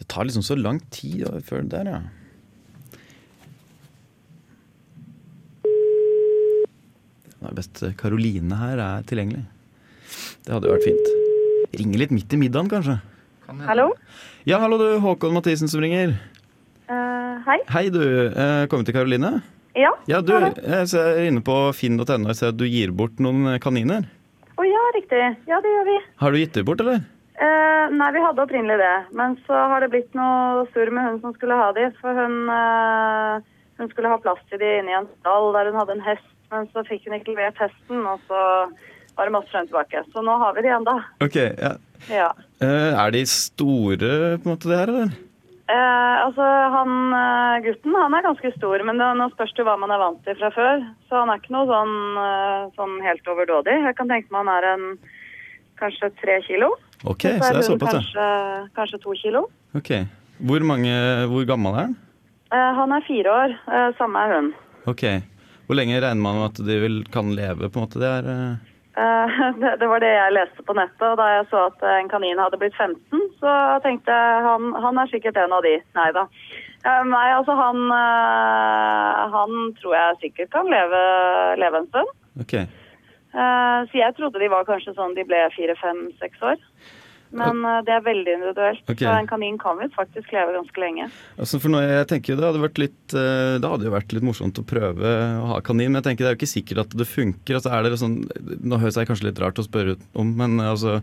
Speaker 3: Det tar liksom så lang tid å- før det der, ja. Det er best Karoline her er tilgjengelig. Det hadde jo vært fint. Ringe litt midt i middagen, kanskje.
Speaker 7: Hallo?
Speaker 3: Ja, hallo, du. Håkon Mathisen som ringer.
Speaker 7: Eh, hei.
Speaker 3: Hei, du. Eh, Kommer til Karoline?
Speaker 7: Ja?
Speaker 3: Ja, du.
Speaker 7: Hallo.
Speaker 3: Jeg ser inne på finn.no og ser at du gir bort noen eh, kaniner.
Speaker 7: Å ja, riktig. Ja, det gjør vi.
Speaker 3: Har du gitt dem bort, eller?
Speaker 7: Eh, nei, vi hadde opprinnelig det. Men så har det blitt noe surr med hun som skulle ha de. For hun, eh, hun skulle ha plass til de inne i en stall der hun hadde en hest. Men så fikk hun ikke levert hesten, og så var det masse frem og tilbake. Så nå har vi de igjen, da.
Speaker 3: Ok, ja.
Speaker 7: Ja.
Speaker 3: Eh, er de store, på en måte, det her, eller?
Speaker 7: Eh, altså, han eh, gutten han er ganske stor, men det, nå spørs det jo hva man er vant til fra før. Så han er ikke noe sånn, eh, sånn helt overdådig. Jeg kan tenke meg han er en kanskje tre kilo.
Speaker 3: Ok, så det er
Speaker 7: hun
Speaker 3: såpass, ja.
Speaker 7: kanskje, kanskje to kilo.
Speaker 3: Ok. Hvor, mange, hvor gammel er den?
Speaker 7: Eh, han er fire år, eh, samme er hun.
Speaker 3: Ok. Hvor lenge regner man med at de vil, kan leve, på en måte? Det er eh,
Speaker 7: Eh, det, det var det jeg leste på nettet, og da jeg så at eh, en kanin hadde blitt 15, så tenkte jeg han, han er sikkert en av de. Nei da. Eh, nei, altså han, eh, han tror jeg sikkert kan leve, leve en stund.
Speaker 3: Ok.
Speaker 7: Eh, Så jeg trodde de var kanskje sånn de ble fire, fem, seks år. Men eh, det er veldig individuelt.
Speaker 3: Ok.
Speaker 7: Så en kanin kan jo faktisk leve ganske lenge.
Speaker 3: Altså for noe, jeg tenker jo Det hadde vært litt eh, Det hadde jo vært litt morsomt å prøve å ha kanin, men jeg tenker det er jo ikke sikkert at det funker. Altså er det sånn, nå høres jeg kanskje litt rart å spørre ut om, men eh, altså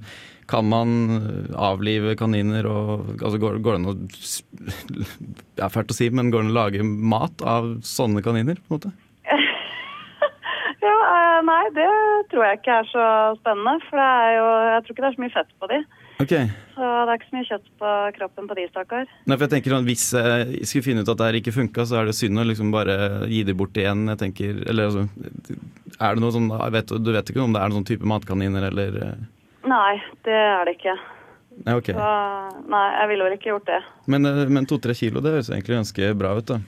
Speaker 3: Kan man eh, avlive kaniner og altså går, går det an å s- Det er fælt å si, men går det an å lage mat av sånne kaniner? på en måte?
Speaker 7: Ja, eh, nei, det tror jeg ikke er så spennende. For det er jo, jeg tror ikke det er så mye fett på de.
Speaker 3: Ok,
Speaker 7: Så det er ikke så mye kjøtt på kroppen på de, stakkar.
Speaker 3: Nei, for jeg tenker sånn, Hvis jeg skulle finne ut at det her ikke funka, så er det synd å liksom bare gi det bort igjen. Jeg tenker, eller altså, er det noe sånn, jeg vet, Du vet ikke om det er noen sånn type matkaniner eller eh,
Speaker 7: Nei, det er det ikke.
Speaker 3: Nei, ok.
Speaker 7: Så, nei, jeg ville vel ikke gjort det.
Speaker 3: Men, eh, men to-tre kilo, det høres egentlig ganske bra ut, da.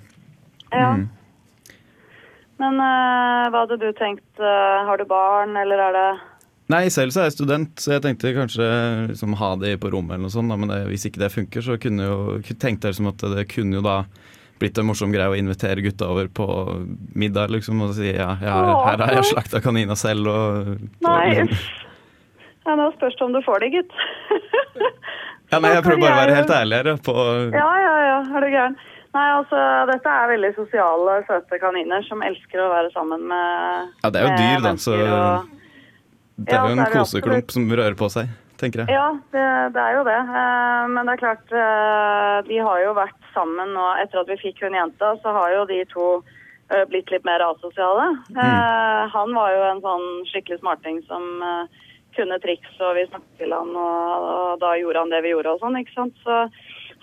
Speaker 7: Ja. Men eh, hva hadde du tenkt? eh, har du barn, eller er det
Speaker 3: Nei, selv så er jeg student, så jeg tenkte kanskje liksom, ha det på rommet eller noe sånt. Da, men det, hvis ikke det funker, så kunne jo, tenkte jeg liksom at det kunne jo da blitt en morsom greie å invitere gutta over på middag, liksom, og si ja, jeg har, her har jeg slakta kanina selv, og
Speaker 7: Nei,
Speaker 3: liksom.
Speaker 7: uff. Ja, nå spørs det om du får det, gitt.
Speaker 3: Ja, nei, jeg prøver bare å være helt ærlig her. ja, På,
Speaker 7: ja, ja, ja, er du gæren. Nei, altså, dette er veldig sosiale, søte kaniner som elsker å være sammen med
Speaker 3: Ja, det er jo
Speaker 7: med
Speaker 3: dyr, da,
Speaker 7: mennesker
Speaker 3: så-
Speaker 7: og-
Speaker 3: det er
Speaker 7: ja,
Speaker 3: jo
Speaker 7: det
Speaker 3: en
Speaker 7: er det absolutt.
Speaker 3: koseklump som rører på seg, tenker jeg.
Speaker 7: Ja, det, det er jo det. Eh, Men det er klart, eh, de har jo vært sammen nå etter at vi fikk hun jenta, så har jo de to eh, blitt litt mer asosiale.
Speaker 3: Mm.
Speaker 7: Eh, Han var jo en sånn skikkelig smarting som eh, kunne triks, og vi snakket til han, og, og da gjorde han det vi gjorde og sånn, ikke sant? Så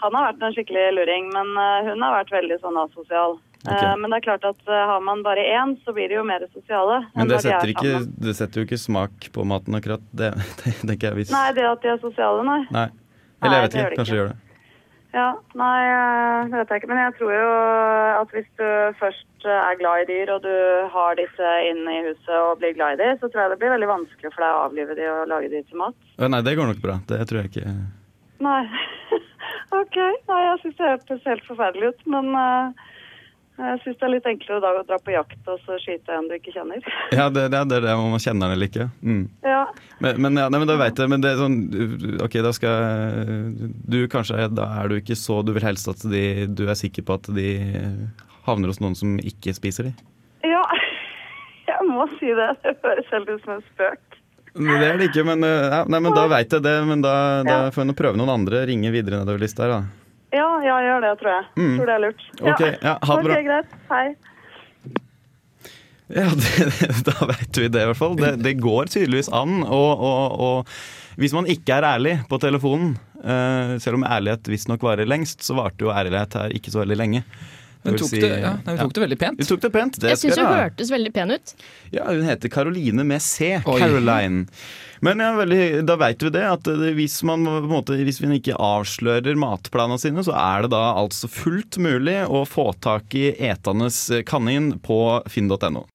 Speaker 7: han har vært en skikkelig luring, men eh, hun har vært veldig sånn asosial. Eh,
Speaker 3: Ok.
Speaker 7: Men det er klart at eh, har man bare én, så blir de jo mer sosiale. enn
Speaker 3: Men det
Speaker 7: når de er
Speaker 3: setter, ikke,
Speaker 7: sammen.
Speaker 3: det setter jo ikke smak på maten akkurat, det, det tenker jeg hvis
Speaker 7: Nei, det at de er sosiale, nei.
Speaker 3: Nei. Eller jeg
Speaker 7: Nei,
Speaker 3: vet
Speaker 7: det
Speaker 3: ikke,
Speaker 7: gjør det
Speaker 3: kanskje
Speaker 7: ikke.
Speaker 3: gjør det.
Speaker 7: Ja, nei, eh, det vet jeg ikke. Men jeg tror jo at hvis du først eh, er glad i dyr, og du har disse inne i huset og blir glad i dem, så tror jeg det blir veldig vanskelig for deg å avlive de og lage de til mat.
Speaker 3: Å, Nei, det går nok bra. Det tror jeg ikke.
Speaker 7: Nei. OK. Nei, jeg syns det hørtes helt forferdelig ut, men eh, jeg syns det er litt enklere da å dra på jakt og så skyte en du ikke kjenner.
Speaker 3: Ja, det, det, det er det om man kjenner den eller ikke. Mm.
Speaker 7: Ja.
Speaker 3: Men, men, ja, nei, men da veit jeg. Men det er sånn OK, da skal Du kanskje Da er du ikke så Du vil helst at de Du er sikker på at de havner hos noen som ikke spiser de.
Speaker 7: ja. Jeg må si det. Det høres helt ut som en spøk.
Speaker 3: Men Det er det ikke, men, eh, ja, nei, men da veit jeg det. Men da, da
Speaker 7: Ja.
Speaker 3: får jeg nå prøve noen andre. Ringe videre nedover lista her, da.
Speaker 7: Ja, ja, gjør det, tror jeg.
Speaker 3: Mm.
Speaker 7: Tror det er lurt.
Speaker 3: Ok, ja, ha det bra.
Speaker 7: Ok, greit. Hei.
Speaker 3: Ja, det, Da veit vi det, i hvert fall. Det, det går tydeligvis an å, å, å Hvis man ikke er ærlig på telefonen, eh, selv om ærlighet visstnok varer lengst, så varte jo ærlighet her ikke så veldig lenge. Jeg
Speaker 4: Hun
Speaker 3: vil
Speaker 4: tok,
Speaker 3: si-
Speaker 4: det, ja, nei, hun tok det veldig
Speaker 3: Du
Speaker 4: pent.
Speaker 3: tok det pent. Det
Speaker 2: Jeg syns
Speaker 3: skal
Speaker 2: hun
Speaker 3: jeg ha.
Speaker 2: hørtes veldig pen ut.
Speaker 3: Ja, hun heter Caroline med C.
Speaker 4: Oi.
Speaker 3: Caroline. Men ja, veldig, da veit vi det, at eh, hvis man, på en måte, hvis man ikke avslører matplanene sine, så er det da altså fullt mulig å få tak i etandes kanin på finn.no.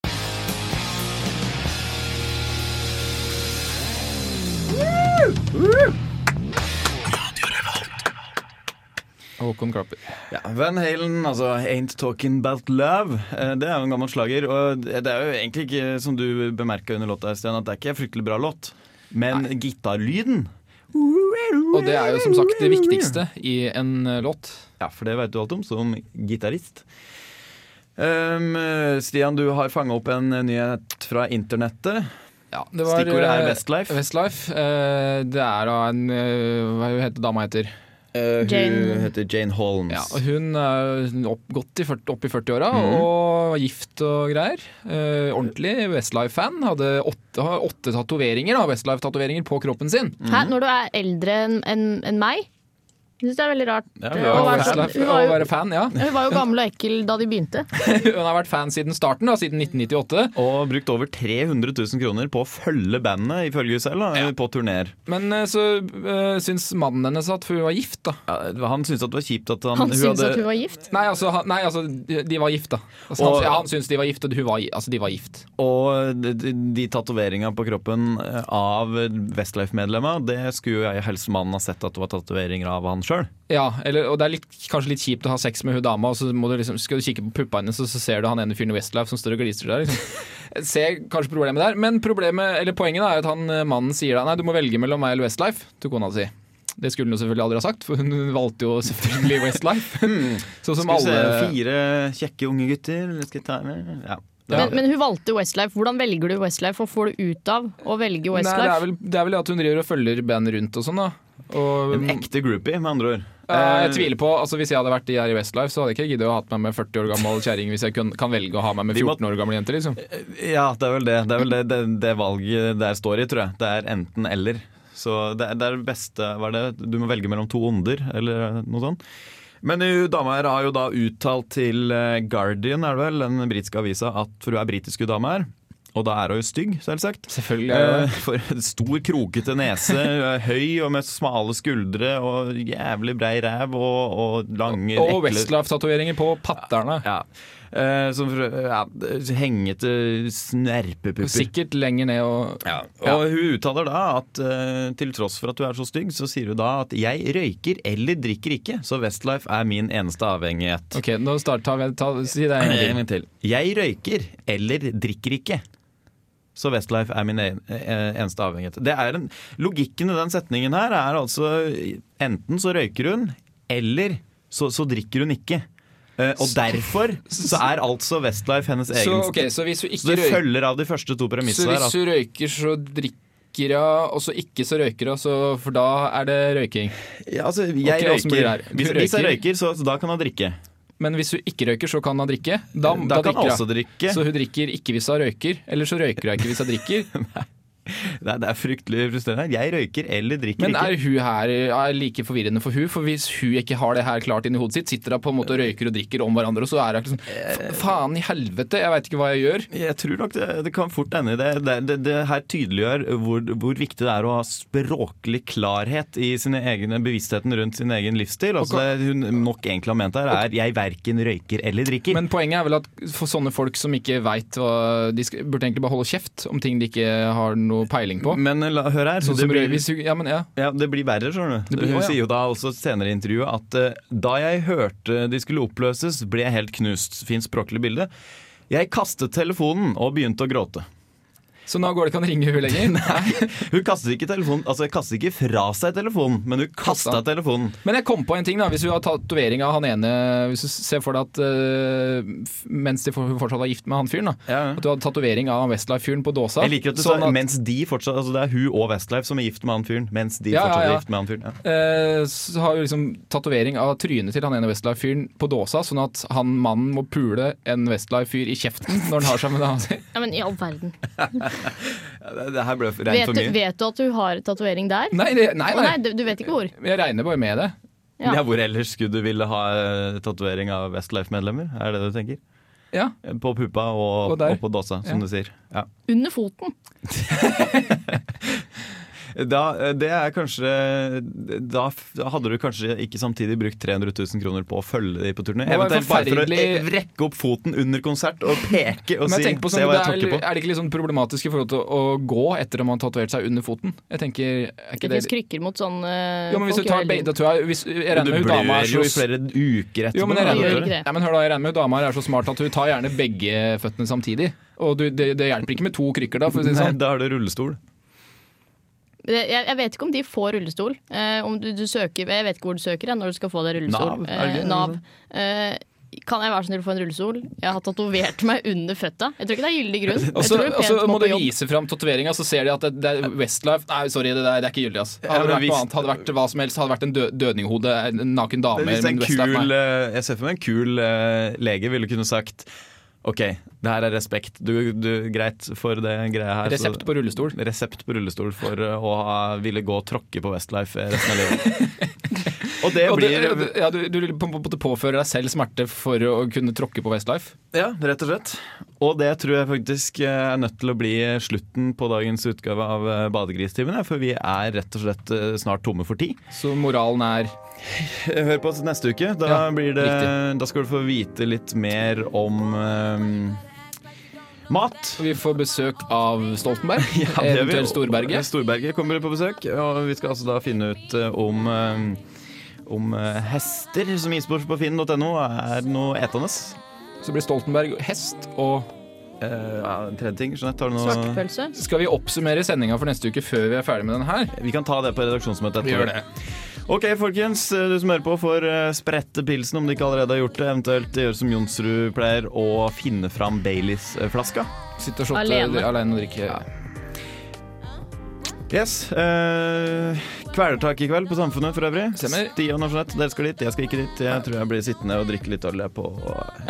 Speaker 4: Håkon Klapper.
Speaker 3: Ja, Van Halen, altså 'Ain't Talking About Love', eh, det er jo en gammel slager. Og det er jo egentlig ikke, som du bemerka under låta, Stian, at det er ikke en fryktelig bra låt. Men gitarlyden
Speaker 4: Og det er jo som sagt det viktigste i en eh, låt.
Speaker 3: Ja, for det vet du alt om som gitarist. Ehm, Stian, du har fanga opp en nyhet fra internettet.
Speaker 4: Ja, det var,
Speaker 3: Stikkordet er
Speaker 4: eh,
Speaker 3: Westlife.
Speaker 4: Westlife. Eh, Det er da en eh, Hva heter dama heter?
Speaker 3: Eh,
Speaker 2: Jane-
Speaker 3: Hun heter Jane Holmes.
Speaker 4: Ja, og hun er jo opp, godt i 40, opp i 40-åra
Speaker 3: Mhm.
Speaker 4: og er gift og greier. Eh, ordentlig Westlife-fan. Hadde åtte, har åtte tatoveringer da, Westlife-tatoveringer på kroppen sin.
Speaker 2: Hæ, når du er eldre enn enn- enn meg? Jeg synes det er veldig rart.
Speaker 3: Ja,
Speaker 2: eh,
Speaker 3: vi
Speaker 2: å
Speaker 3: har
Speaker 2: være sånn-
Speaker 4: Westlife,
Speaker 2: hun, var
Speaker 4: å
Speaker 2: jo,
Speaker 4: være fan, ja.
Speaker 2: hun var jo gammel og ekkel da de begynte.
Speaker 4: Hun har vært fan siden starten, da, siden 1998.
Speaker 3: Og brukt over 300 000 kroner på å følge bandet, ifølge hun selv, da, på turnéer.
Speaker 4: Men eh, så uh, syns mannen hennes at hun var gift, da.
Speaker 3: Ja, han syntes at det var kjipt at han,
Speaker 2: Han syntes
Speaker 3: hadde-
Speaker 2: at hun var gift.
Speaker 4: Nei, altså, han, nei, altså de, de var gift, da. Altså,
Speaker 3: Og-
Speaker 4: han, ja, han syns de var gift, og hun var, gi- altså, de var gift.
Speaker 3: Og de, de, de tatoveringene på kroppen eh, av Westlife-medlemmer, det skulle jo jeg helst mannen ha sett at det var tatoveringer av han sjøl.
Speaker 4: Ja, eller, og det er litt, kanskje litt kjipt å ha sex med hun dama, og så må du liksom, skal du kikke på puppa hennes, og så ser du han ene fyren i Westlife som står og gliser der. Liksom. ser kanskje problemet der, men problemet, eller poenget er at han, eh, mannen sier da Nei, du må velge mellom meg eller Westlife til kona si. Det skulle hun jo selvfølgelig aldri ha sagt, for hun valgte jo selvfølgelig Westlife. Sånn som
Speaker 3: Skal vi Hmm. se,
Speaker 4: alle
Speaker 3: fire kjekke unge gutter let's get time. Ja.
Speaker 4: Ja.
Speaker 2: Men, men hun valgte Westlife. Hvordan velger du Westlife, og får du ut av å velge
Speaker 4: Nei, det, er
Speaker 2: Westlife?
Speaker 4: vel, det er vel at hun driver og følger band rundt og sånn, da. Og,
Speaker 3: En ekte groupie, med andre ord.
Speaker 4: Eh, jeg tviler på, altså Hvis jeg hadde vært de her i Westlife, så hadde jeg ikke giddet å ha meg med 40 år gammel kjerring hvis jeg kun, kan velge å ha meg med
Speaker 3: Vi må- Eh,
Speaker 4: 14 år gamle jenter. liksom
Speaker 3: Ja, det er vel det. Det er vel det, det, det valget der står i, tror jeg. Det er enten eller. Så det er det er det beste Hva er det? Du må velge mellom to onder, eller noe sånt. Men hun dama her har jo da uttalt til eh, Guardian, er det vel, den britiske avisa, at for hun er britisk, hun dama her. Og da er hun jo stygg, selvsagt.
Speaker 4: Selvfølgelig er
Speaker 3: Eh,
Speaker 4: det
Speaker 3: For en stor, krokete nese, hun er høy og med smale skuldre og jævlig brei ræv og, og lange,
Speaker 4: Eh, Og
Speaker 3: ekle-
Speaker 4: Westlife-tatoveringer på patterne.
Speaker 3: Ja. Eh, Som for- ja, hengete snerpepupper.
Speaker 4: Sikkert lenger ned og
Speaker 3: Ja, og hun uttaler da at eh, til tross for at du er så stygg, så sier hun da at 'jeg røyker eller drikker ikke', så Westlife er min eneste avhengighet.
Speaker 4: Ok, nå start, ta, ta, si det
Speaker 3: Eh,
Speaker 4: en gang til.
Speaker 3: Jeg røyker eller drikker ikke. Så Westlife er min en, eh, eneste avhengighet. Det er en, logikken i den setningen her er altså enten så røyker hun, eller så, så drikker hun ikke. Eh, og derfor så er altså Westlife hennes egen
Speaker 4: Så, ok, så hvis hun
Speaker 3: Så
Speaker 4: ikke
Speaker 3: det
Speaker 4: røyker,
Speaker 3: følger av de første to
Speaker 4: så,
Speaker 3: premissene her. altså.
Speaker 4: hvis
Speaker 3: at-
Speaker 4: hun røyker så drikker hun, og så ikke så røyker hun, så- for da er det røyking.
Speaker 3: Ja, altså, jeg
Speaker 4: Ok, hvordan blir det her?
Speaker 3: røyker.
Speaker 4: Du
Speaker 3: Hvis, hvis jeg
Speaker 4: røyker.
Speaker 3: røyker, så, så da kan jeg drikke.
Speaker 4: Men hvis hun ikke røyker, så kan hun drikke.
Speaker 3: Da,
Speaker 4: Da,
Speaker 3: kan
Speaker 4: drikker
Speaker 3: jeg
Speaker 4: hun.
Speaker 3: også drikke.
Speaker 4: Så hun drikker ikke hvis hun røyker, eller så røyker hun ikke hvis hun drikker.
Speaker 3: Nei, det er fryktelig frustrerende. Jeg røyker eller drikker
Speaker 4: Men er
Speaker 3: ikke.
Speaker 4: hun her er like forvirrende for hun? For hvis hun ikke har det her klart inni hodet sitt, sitter hun på en måte og røyker og drikker om hverandre, og så er hun ikke sånn "Fa- Faen i helvete, jeg veit ikke hva jeg gjør.
Speaker 3: Jeg tror nok det, det kan fort ende i det. Det, det. det her tydeliggjør hvor, hvor viktig det er å ha språklig klarhet i sine egne bevisstheten rundt sin egen livsstil. Altså, det hun nok egentlig har ment her, er 'jeg verken røyker eller drikker'.
Speaker 4: Men poenget er vel at for sånne folk som ikke veit hva De skal, burde egentlig bare holde kjeft om ting de ikke har noe peiling på.
Speaker 3: Men la, hør her.
Speaker 4: Sånn
Speaker 3: det
Speaker 4: som
Speaker 3: blir-
Speaker 4: røy- hvis hun, ja, men ja.
Speaker 3: Ja, Det blir verre, skjønner du.
Speaker 4: Det blir-
Speaker 3: Hun
Speaker 4: å, ja.
Speaker 3: sier jo da altså senere i intervjuet at eh, da jeg hørte de skulle oppløses, ble jeg helt knust. Fint språklig bilde. Jeg kastet telefonen og begynte å gråte.
Speaker 4: Så nå går det ikke an å ringe hun lenger?
Speaker 3: Hun kastet ikke telefonen, altså hun kastet ikke fra seg telefonen, men hun kasta
Speaker 4: Kastet.
Speaker 3: telefonen.
Speaker 4: Men jeg kom på en ting da, hvis du har tatovering av han ene Hvis du ser for deg at eh, f- mens de for- fortsatt er gift med han fyren, da
Speaker 3: Ja.
Speaker 4: at du hadde tatovering av han Westlife-fyren på dåsa.
Speaker 3: Jeg liker at du
Speaker 4: sånn
Speaker 3: sa mens de fortsatt Altså det er hun og Westlife som er gift med han fyren. Mens de
Speaker 4: Ja, ja,
Speaker 3: fortsatt
Speaker 4: ja.
Speaker 3: er gift med han fyren. Ja.
Speaker 4: eh, så har du liksom tatovering av trynet til han ene Westlife-fyren på dåsa, sånn at han mannen må pule en Westlife-fyr i kjeften når han har seg med dama si.
Speaker 2: Ja, men i all verden.
Speaker 3: Det, det her ble rent
Speaker 2: Vet,
Speaker 3: for mye.
Speaker 2: vet du at du har tatovering der?
Speaker 4: Nei, det, nei,
Speaker 2: Å,
Speaker 4: nei.
Speaker 2: nei, du, du vet ikke hvor.
Speaker 4: Jeg regner bare med det.
Speaker 2: Ja.
Speaker 3: Ja. hvor ellers skulle du ville ha eh, tatovering av Westlife-medlemmer? Er det det du tenker?
Speaker 4: Ja.
Speaker 3: På puppa og,
Speaker 4: Og
Speaker 3: og,
Speaker 4: der.
Speaker 3: på dåsa,
Speaker 4: Ja.
Speaker 3: som du sier. Ja.
Speaker 2: Under foten.
Speaker 3: Da, eh, det er kanskje eh, Da f- da hadde du kanskje ikke samtidig brukt 300 000 kroner på å følge de på turné.
Speaker 4: Det var
Speaker 3: Eventuelt bare for å eh,
Speaker 4: forferdelig-
Speaker 3: rekke opp foten under konsert og peke og
Speaker 4: Men
Speaker 3: si
Speaker 4: jeg tenker på
Speaker 3: Se
Speaker 4: sånn,
Speaker 3: hva jeg
Speaker 4: det er,
Speaker 3: tråkker på.
Speaker 4: er det ikke litt sånn problematisk i forhold til å, å gå etter om man har tatovert seg under foten? Jeg tenker, er
Speaker 2: Det
Speaker 4: ikke det
Speaker 2: fins krykker mot sånn eh,
Speaker 4: Jo, men hvis
Speaker 2: folk
Speaker 4: du
Speaker 2: gjør
Speaker 4: tar
Speaker 2: hele
Speaker 4: begge
Speaker 2: tiden.
Speaker 4: tatoverer hvis- Jeg regner
Speaker 3: Du
Speaker 4: med hun dama er
Speaker 3: blør jo i
Speaker 4: så
Speaker 3: flere uker etterpå.
Speaker 4: Jo, men jeg
Speaker 2: Nei,
Speaker 4: regner,
Speaker 2: gjør
Speaker 4: med-
Speaker 2: ikke det.
Speaker 4: Nei, men hør da, jeg regner med dama her er så smart at hun tar gjerne begge føttene samtidig. Og du, det, det hjelper ikke med to krykker da, for å si det
Speaker 3: Nei,
Speaker 4: sånn.
Speaker 3: da er det rullestol.
Speaker 2: Det- Jeg, jeg vet ikke om de får rullestol. Eh, om du, du søker, jeg vet ikke hvor du søker jeg, når du skal få deg rullestol.
Speaker 3: Nav, er det
Speaker 2: Eh,
Speaker 3: ikke det?
Speaker 2: NAV. Eh, kan jeg være så snill å få en rullestol? Jeg har tatovert meg under føtta. Jeg tror ikke det er gyldig grunn. Jeg
Speaker 4: Og så
Speaker 2: tror det er
Speaker 4: og så
Speaker 2: pent
Speaker 4: må
Speaker 2: på
Speaker 4: du
Speaker 2: jobb.
Speaker 4: vise fram tatoveringa, så ser de at det, det er Westlife Nei, sorry, det, der, det er ikke gyldig, ass.
Speaker 3: Ja,
Speaker 4: Hadde det
Speaker 3: men
Speaker 4: vært noe
Speaker 3: hvis-
Speaker 4: annet, hadde det vært hva som helst, hadde det vært en dø, dødninghode, en naken dame
Speaker 3: Hvis en
Speaker 4: men Westlife,
Speaker 3: sånn kul,
Speaker 4: nei.
Speaker 3: eh, jeg ser for meg en kul eh, lege ville kunne sagt OK, det her er respekt. Du, du, greit for det greia her. så-
Speaker 4: Resept på rullestol.
Speaker 3: resept på rullestol for eh, å ha, ville gå og tråkke på Westlife resten av livet. og det
Speaker 4: Og
Speaker 3: eh, blir
Speaker 4: det, ja, du, du på en måte påfører deg selv smerte for å kunne tråkke på Westlife.
Speaker 3: Ja, rett og slett. Og det tror jeg faktisk eh, er nødt til å bli slutten på dagens utgave av eh, Badegristimen, ja, for vi er rett og slett eh, snart tomme for tid.
Speaker 4: Så moralen er
Speaker 3: Hør på oss neste uke. Da,
Speaker 4: Ja,
Speaker 3: blir det, da skal du få vite litt mer om eh, mat.
Speaker 4: Vi får besøk av Stoltenberg,
Speaker 3: Ja, det gjør vi.
Speaker 4: eventuelt Storberget.
Speaker 3: Storberget kommer på besøk, og vi skal altså da finne ut eh, om eh, om eh, hester som gis bort på finn.no er noe etende.
Speaker 4: Så blir Stoltenberg hest og
Speaker 8: Eh, ja, en tredje ting, Jeanette, har du noe
Speaker 2: Svartpølse.
Speaker 4: Skal vi oppsummere sendinga for neste uke før vi er ferdig med den her?
Speaker 3: Vi kan ta det på redaksjonsmøtet etterpå. Ok, folkens, du som hører på får eh, sprette pilsen om du ikke allerede har gjort det. Eventuelt gjøre som Jonsrud pleier, å finne fram eh, Baileys-flaska.
Speaker 4: Sitte og shotte
Speaker 2: Alene.
Speaker 4: alene. og drikke.
Speaker 3: Yes. eh, kvelertak i kveld på Samfunnet for øvrig.
Speaker 4: Stemmer.
Speaker 3: Stian og Jeanette, dere skal dit. Jeg skal ikke dit. Jeg tror jeg blir sittende og drikke litt øl jeg, på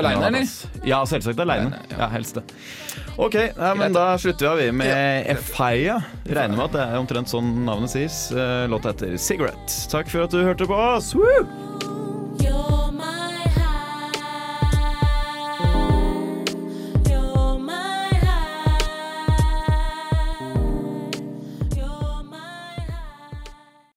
Speaker 4: Alene, eller?
Speaker 3: Ja, selvsagt aleine.
Speaker 4: Alene, ja.
Speaker 3: Ja, helst det. OK, ja, men
Speaker 4: Greit.
Speaker 3: da slutter vi av, vi med Efeia. Regner med at det er omtrent sånn navnet sies. Eh, Låt heter Cigarette. Takk for at du hørte på oss. Woo!